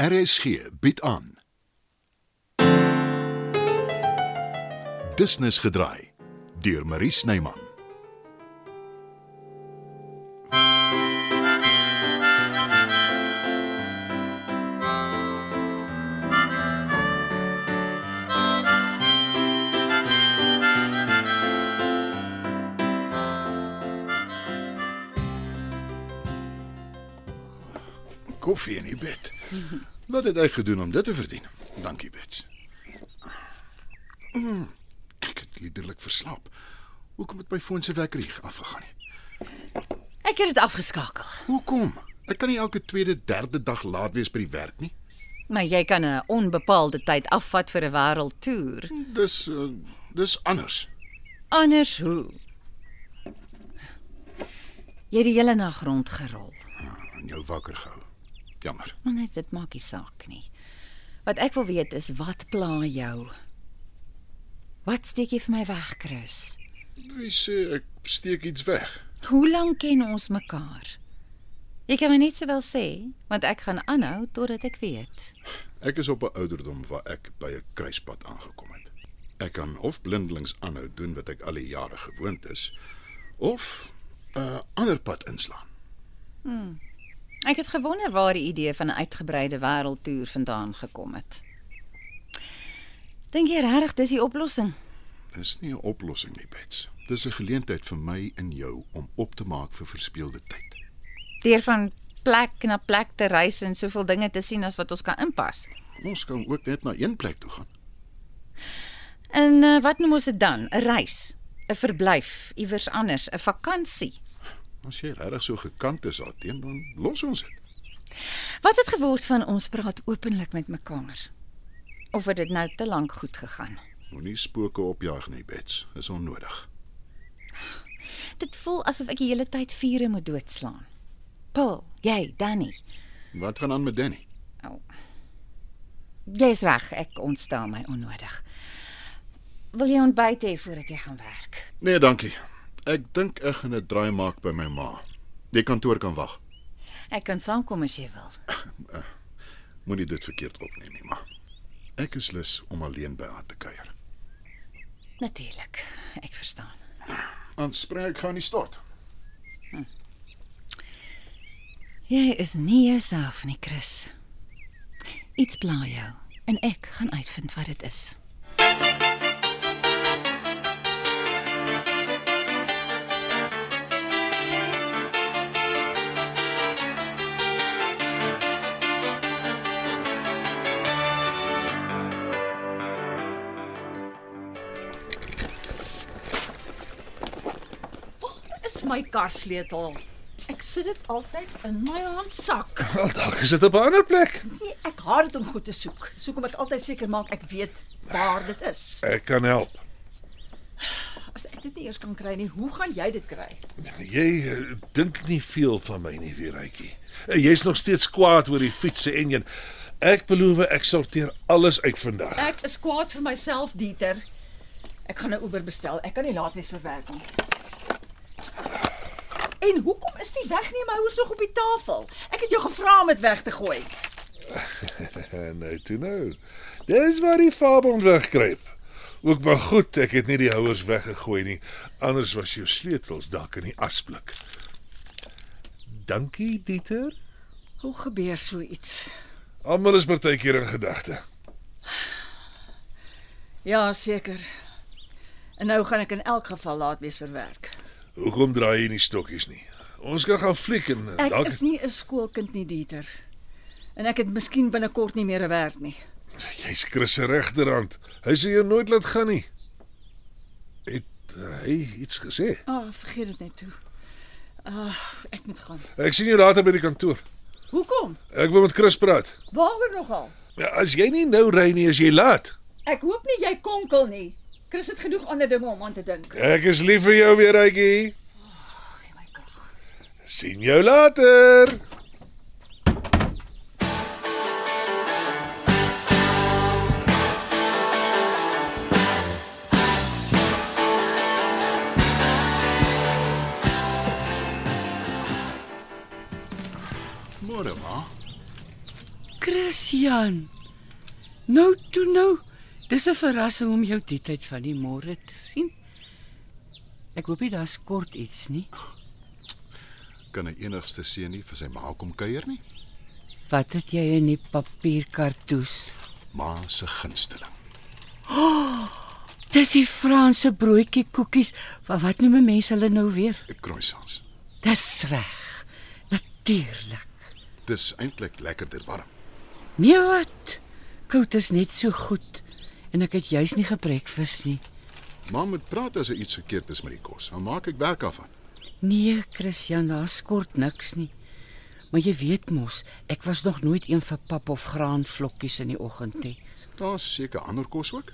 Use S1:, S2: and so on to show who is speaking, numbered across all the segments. S1: RSG bied aan. Business gedraai deur Marie Snyman. Koffie in die bed. Wat het hy gedoen om dit te verdien? Dankie, Bets. Mm, Ek het liderlik verslaap. Hoekom het my foon se wekker hier afgegaan nie?
S2: Ek het dit afgeskakel.
S1: Hoekom? Ek kan nie elke tweede, derde dag laat wees by die werk nie.
S2: Maar jy kan 'n onbepaalde tyd afvat vir 'n wêreldtoer.
S1: Dis uh, dis anders.
S2: Anders hoe? Jy het die hele nag rondgerol.
S1: En jou wakker gehou. Jammer.
S2: Maar net dit maak nie saak nie. Wat ek wil weet is wat pla jou? Wat steek jy vir my weg, Chris?
S1: Wie sê ek steek iets weg?
S2: Hoe lank ken ons mekaar? Jy kan my net sowel sê, want ek gaan aanhou totdat ek weet.
S1: Ek is op 'n ouderdom waar ek by 'n kruispunt aangekom het. Ek kan of blindelings aanhou doen wat ek al die jare gewoond is, of 'n ander pad inslaan.
S2: Ek het gewonder waar die idee van 'n uitgebreide wêreldtoer vandaan gekom het. Dink jy regtig dis die oplossing?
S1: Dis nie 'n oplossing nie, Bets. Dis 'n geleentheid vir my en jou om op te maak vir verspeelde tyd.
S2: Deur van plek na plek te reis en soveel dinge te sien as wat ons kan inpas.
S1: Ons kan ook net na een plek toe gaan.
S2: En uh, wat noem ons dit dan? 'n Reis, 'n verblyf iewers anders, 'n vakansie.
S1: As jy regtig so gekant is daarteen, dan los ons dit.
S2: Wat het geword van ons praat openlik met mekaar? Of het dit nou te lank goed gegaan?
S1: Moenie spooke opjaag nie, Bets. Dis onnodig.
S2: Dit voel asof ek die hele tyd vure moet doodslaan. Paul, jy, Danny,
S1: Wat gaan aan met Danny?
S2: Jy's reg, ek ontstel my onnodig. Wil jy ontbyt hê voordat jy gaan werk?
S1: Nee, dankie. Ek dink ek gaan 'n draai maak by my ma. Die kantoor kan wag.
S2: Ek kan saamkom as jy wil.
S1: Moenie dit verkeerd opneem nie, maar ek is lus om alleen by haar te kuier.
S2: Natuurlik, ek verstaan.
S1: Aanspreek gaan nie stort.
S2: Jy is nie jouself nie, Chris. Iets pla jou en ek gaan uitvind wat dit is.
S3: is my karsleutel. Ek sit dit altyd in my handsak.
S4: Wel, dalk is dit op 'n ander plek.
S3: Nee, ek haat dit om goed te soek. Soek om dit altyd seker maak ek weet waar dit is.
S4: Ek kan help.
S3: As ek dit nie eers kan kry nie, hoe gaan jy dit kry?
S4: Jy eh, dink nie veel van my nie, Wierytjie. Jy's nog steeds kwaad oor die fiets se enjin. Ek beloof ek sorteer alles uit vandag.
S3: Ek is kwaad vir myself, Dieter. Ek gaan 'n Uber bestel. Ek kan nie laat wees vir werk nie. En hoekom is die wegneem houers nog op die tafel? Ek het jou gevra om dit weg te gooi.
S4: En nou toe nou. Dis waar die vabond wegkruip. Ook maar goed, ek het nie die houers weggegooi nie. Anders was jou sleutels dalk in die asblik. Dankie, Dieter.
S3: Hoe gebeur so iets?
S4: Almal is partykeer in gedagte.
S3: Ja, seker. En nou gaan ek in elk geval laat wees vir werk.
S4: Hoekom draai jy nie stokkies nie? Ons kan gaan fliek en eh,
S3: Ek is nie 'n skoolkind nie, Dieter. En ek het miskien binnekort nie meer 'n werk nie.
S4: Jy's Chris se regterhand. Hy sê jou nooit laat gaan nie. Het uh, hy iets gesê?
S3: Ah, oh, vergeet dit net toe. Ah, ek moet gaan.
S4: Ek sien jou later by die kantoor.
S3: Hoekom?
S4: Ek wil met Chris praat.
S3: Waaroor nogal?
S4: Ja, as jy nie nou ry nie, is jy laat.
S3: Ek hoop nie jy konkel nie. Chris het genoeg ander dinge om aan te dink.
S4: Ek is lief vir jou weer, Rykie.
S3: Gee my krag.
S4: Sien jou later.
S1: Môre maar.
S2: Chris,
S5: Sian. Nou toe nou. Dis 'n verrassing om jou die tyd van die môre te sien. Ek hoop nie daar's kort iets nie.
S1: Kan 'n enigste seun nie vir sy ma kom kuier nie?
S5: Wat het jy in die papierkartoes? Oh,
S1: Ma se gunsteling.
S5: Dis die Franse broodjie koekies. Wa- Wat noem mense hulle nou weer?
S1: Croissants.
S5: Dis reg. Natuurlik.
S1: Dis eintlik lekkerder warm.
S5: Nee wat? Koud is net so goed. En ek het juis nie gebrekvis nie.
S1: Ma moet praat as hy iets verkeerd is met die kos. Dan maak ek werk daarvan.
S5: Nee, Christian, daar's kort niks nie. Maar jy weet mos, ek was nog nooit een vir pap of graanvlokkies in die oggend nie.
S1: Daar's seker ander kos ook.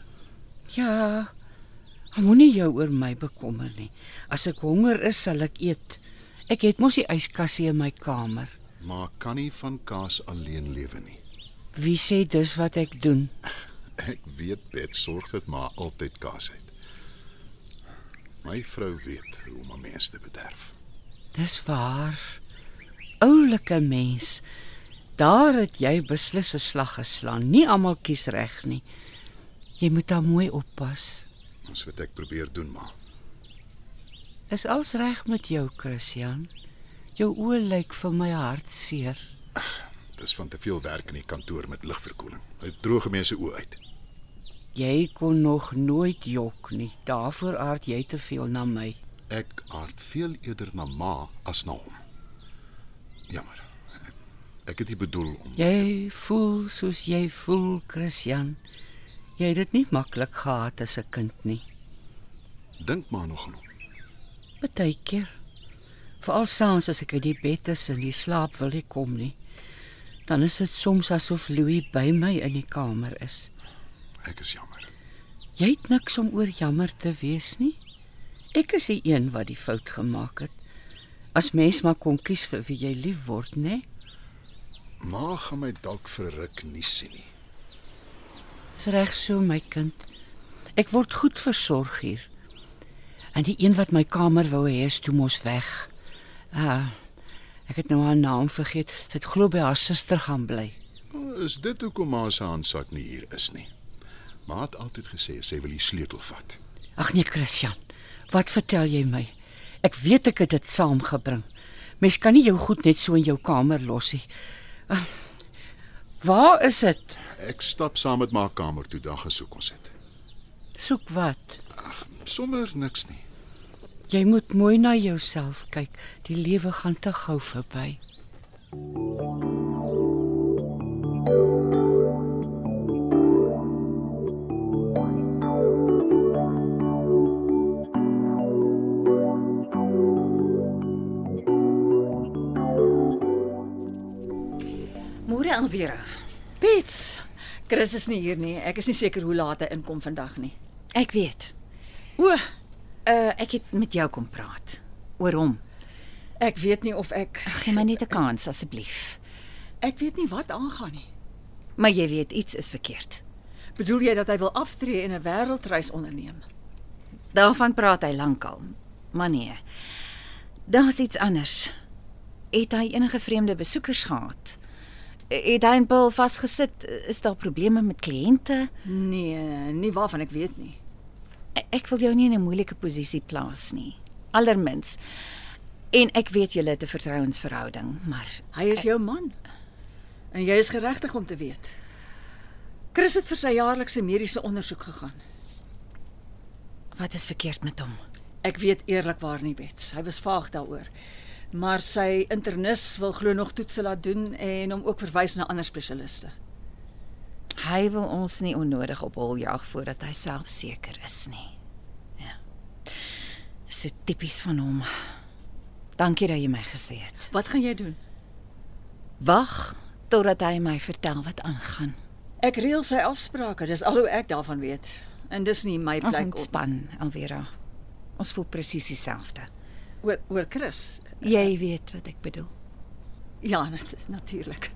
S5: Ja. Moenie jou oor my bekommer nie. As ek honger is, sal ek eet. Ek het mos die yskassie in my kamer.
S1: Ma kan nie van kaas alleen lewe nie.
S5: Wie sê dis wat ek doen?
S1: Ek weet Bet sorg dat ma altyd kaas het. My vrou weet hoe om 'n mens te bederf.
S5: Dis waar. Oulike mens. Daar het jy beslis 'n slag geslaan. Nie almal kies reg nie. Jy moet daar mooi oppas.
S1: Ons wat ek probeer doen, ma.
S5: Is alles reg met jou, Christian? Jou oë lyk vir my hartseer.
S1: Dis van te veel werk in die kantoor met ligverkoeling. Dit droog mense oë uit.
S5: Jy kon nog nooit jok nie. Daarvoor aard jy te veel na my.
S1: Ek aard veel eerder na ma as na hom. Jammer. Ek, ek het nie bedoel om
S5: Jy voel soos jy voel, Christian. Jy het dit nie maklik gehad as 'n kind nie.
S1: dink maar nog aan hom.
S5: Partykeer. Veral saans as ek uit die bed is en die slaap wil nie kom nie. Dan is dit soms asof Louis by my in die kamer is.
S1: Ek is jammer.
S5: Jy het niks om oor jammer te wees nie. Ek is die een wat die fout gemaak het. As mens maar kon kies vir wie jy lief word, né?
S1: Ma gaan my dalk vir 'n ruk nie sien nie.
S5: Dis reg so, my kind. Ek word goed versorg hier. En die een wat my kamer wou hê, is toe mos weg. Ah. Ek het nou haar naam vergeet. Sy het glo by haar suster gaan bly.
S1: O, Is dit hoekom ma se handsak nie hier is nie? Ma het altyd gesê sy wil die sleutel vat.
S5: Ag nee, Christian. Wat vertel jy my? Ek weet ek het dit saamgebring. Mens kan nie jou goed net so in jou kamer los nie. Ah, Waar is dit?
S1: Ek stap saam met ma kamer toe, dan gesoek ons dit.
S5: Soek wat?
S1: Sommer niks nie.
S5: Jy moet mooi na jouself kyk. Die lewe gaan te gou verby.
S2: Môre Alvera.
S3: Piets. Chris is nie hier nie. Ek is nie seker hoe laat hy inkom vandag nie.
S2: Ek weet.
S3: O,
S2: Uh ek het met jou kom praat oor hom.
S3: ek weet nie of ek
S2: Gee my net 'n kans asseblief.
S3: ek weet nie wat aangaan nie.
S2: Maar jy weet iets is verkeerd.
S3: Bedoel jy dat hy wil aftree en 'n wêreldreis onderneem?
S2: Daarvan praat hy lankal. Maar nee. Daar's iets anders. Het hy enige vreemde besoekers gehad? Het hy in Paul vasgesit? Is daar probleme met kliënte?
S3: Nee, nie waarvan ek weet nie.
S2: E- Ek wil jou nie in 'n moeilike posisie plaas nie. Allermins. En ek weet julle het 'n vertrouensverhouding, maar
S3: Hy is jou man. En jy is geregtig om te weet. Chris het vir sy jaarlikse mediese ondersoek gegaan.
S2: wat is verkeerd met hom?
S3: Ek weet eerlikwaar nie, Bets. Hy was vaag daaroor. Maar sy internis wil glo nog toetse laat doen en hom ook verwys na ander spesialiste.
S2: Hy wil ons nie onnodig op hol jag voordat hy self seker is nie. Ja. So tipies van hom. Dankie dat jy my gesê het.
S3: Wat gaan jy doen?
S2: Wag totdat hy my vertel wat aangaan.
S3: Ek reël sy afsprake, dis al hoe ek daarvan weet. En dis nie my
S2: Ag,
S3: plek om
S2: Ontspan, Alvera. Ons voel presies dieselfde.
S3: oor oor Chris.
S2: Jy weet wat ek bedoel.
S3: Ja, nat, natuurlik.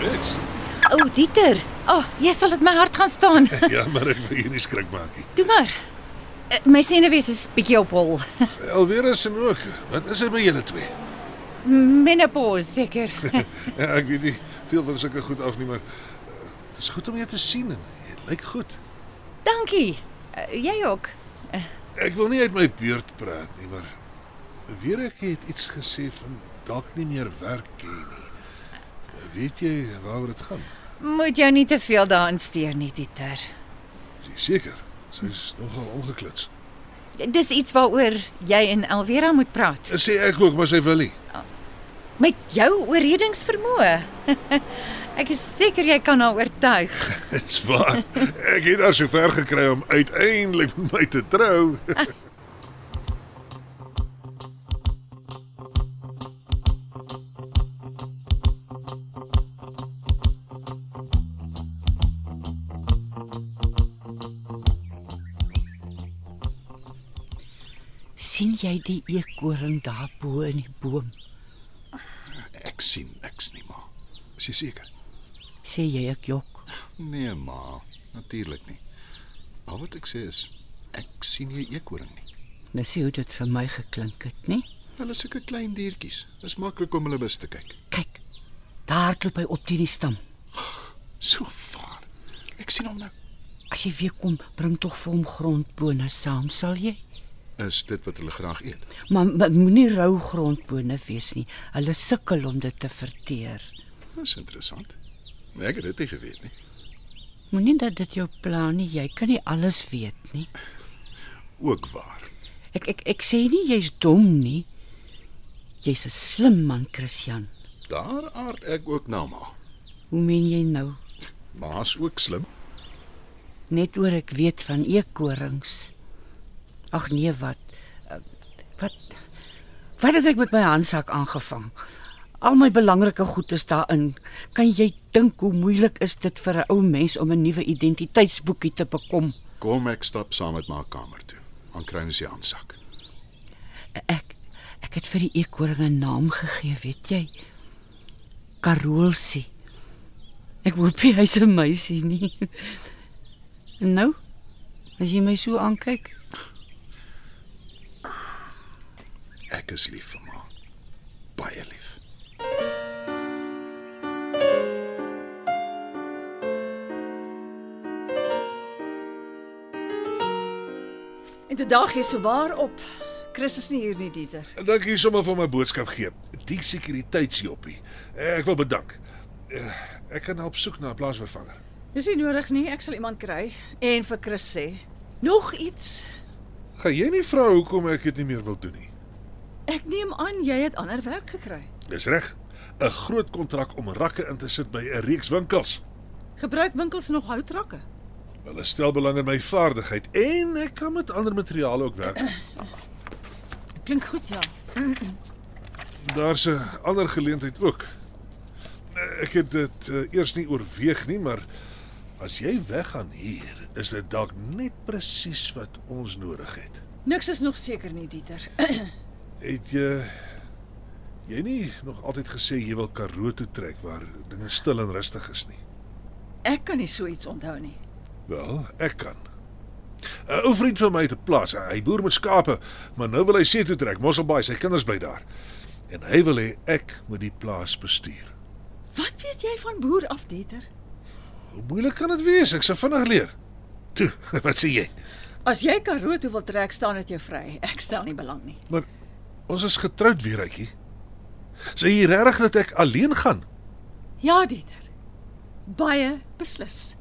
S4: Bets.
S2: O, oh, Dieter. O, oh, jy sal dit my hart gaan staan.
S4: Ja, maar ek wil jou nie skrik maak nie.
S2: Toe maar. Eh, My senuwees is bietjie op hol.
S4: Alweer is en ook. Wat is dit met julle twee?
S2: Menopause seker.
S4: Ja, ek weet nie veel van sulke goed af nie, maar eh, dit is goed om jou te sien en dit lyk goed.
S2: Dankie. Eh, Jy ook.
S4: Ek wil nie uit my beurt praat nie, maar weer ek het iets gesê van dalk nie meer werk hê nie. Weet jy waaroor dit gaan?
S2: Moet jou nie te veel daarin steur nie, Dieter.
S4: Is jy seker? Sy's nogal ongeklits.
S2: Dis iets waaroor jy en Elvera moet praat.
S4: Sê ek ook, maar sy wil nie.
S2: Met jou oorredingsvermoë. Ek is seker jy kan haar oortuig.
S4: Dis waar. Ek het haar so ver gekry om uiteindelik met my te trou.
S5: sien jy die eekoring daar bo in die boom?
S1: Ek sien niks nie, ma. Is jy seker?
S5: Sê jy ek jok.
S1: Nee, ma. Natuurlik nie. Al wat ek sê is ek sien nie 'n eekoring nie.
S5: Nou sien hoe dit vir my geklink het, nê?
S1: Hulle is sulke klein diertjies. Dis maklik om hulle mis te kyk.
S5: Kyk. Daar hardloop hy op teen die stam.
S1: So vaar. Ek sien hom nou.
S5: As jy weer kom, bring tog vir hom grondbone saam, sal jy?
S1: Is dit wat hulle graag eet?
S5: Maar maar moenie rou grondbone wees nie. Hulle sukkel om dit te verteer.
S1: Dis interessant. Nee, ek het dit nie geweet nie.
S5: Moenie dat dit jou pla nie. Jy kan nie alles weet nie.
S1: Ook waar.
S5: Ek ek ek sê nie jy's dom nie. Jy's 'n slim man, Christian.
S1: Daar aard ek ook na ma.
S5: Hoe meen jy nou?
S1: Ma's ook slim.
S5: Net oor ek weet van eekorings. Ag nee, wat? Eh, Wat? Wat het ek met my handsak aangevang? Al my belangrike goed is daarin. Kan jy dink hoe moeilik is dit vir 'n ou mens om 'n nuwe identiteitsboekie te bekom?
S1: Kom ek stap saam met ma kamer toe. Dan kry ons die handsak.
S5: Ek ek het vir die eekoring 'n naam gegee, weet jy? Karoolsie. Ek hoop nie hy's 'n meisie nie. En nou? As jy my so aankyk,
S1: Ek is lief vir ma. Baie lief.
S3: En toe daag jy so waar op. Chris is nie hier nie, Dieter.
S4: Dankie sommer vir my boodskap gee. Die sekuriteitsjoppie. Ek wil bedank. Eh, Ek kan help soek na 'n plaasvervanger.
S3: Dis nie nodig nie, ek sal iemand kry en vir Chris sê. Nog iets.
S4: Gaan jy nie vra hoekom ek dit nie meer wil doen nie?
S3: Ek neem aan jy het ander werk gekry.
S4: Dis reg. 'n Groot kontrak om rakke in te sit by 'n reeks winkels.
S3: Gebruik winkels nog houtrakke?
S4: Hulle stel belang in my vaardigheid en ek kan met ander materiale ook werk.
S3: Klink goed, ja.
S4: Daar's 'n ander geleentheid ook. Ek het dit eh, eers nie oorweeg nie, maar as jy weggaan hier, is dit dalk net presies wat ons nodig het.
S3: Niks is nog seker nie, Dieter.
S4: Het jy jy nie nog altyd gesê jy wil Karoo toe trek waar dinge stil en rustig is nie?
S3: Ek kan nie so iets onthou nie.
S4: Wel, ek kan. 'n Ou vriend van my te plaas. Hy boer met skape, maar nou wil hy see toe trek, Mosselbaai, sy kinders bly daar. En hy wil hê ek moet die plaas bestuur.
S3: Wat weet jy van boer af, Dieter?
S4: Hoe moeilik kan dit wees? Ek sal vinnig leer. Toe, wat sê jy?
S3: As jy Karoo toe wil trek, staan dit jou vry. Ek stel nie belang nie.
S4: Ons is getroud weer, Rykie. Sê jy regtig dat ek alleen gaan?
S3: Ja, Dieter. Baie beslis.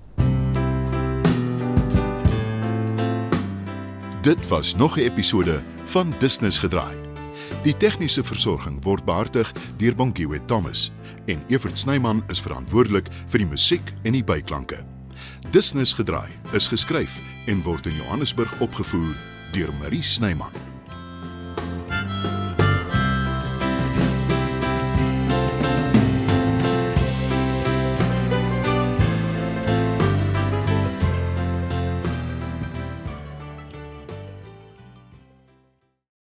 S1: Dit was nog 'n episode van Business Gedraai. Die tegniese versorging word behartig deur Bonnie Witt Thomas en Evert Snyman is verantwoordelik vir die musiek en die byklanke. Business Gedraai is geskryf en word in Johannesburg opgevoer deur Marie Snyman.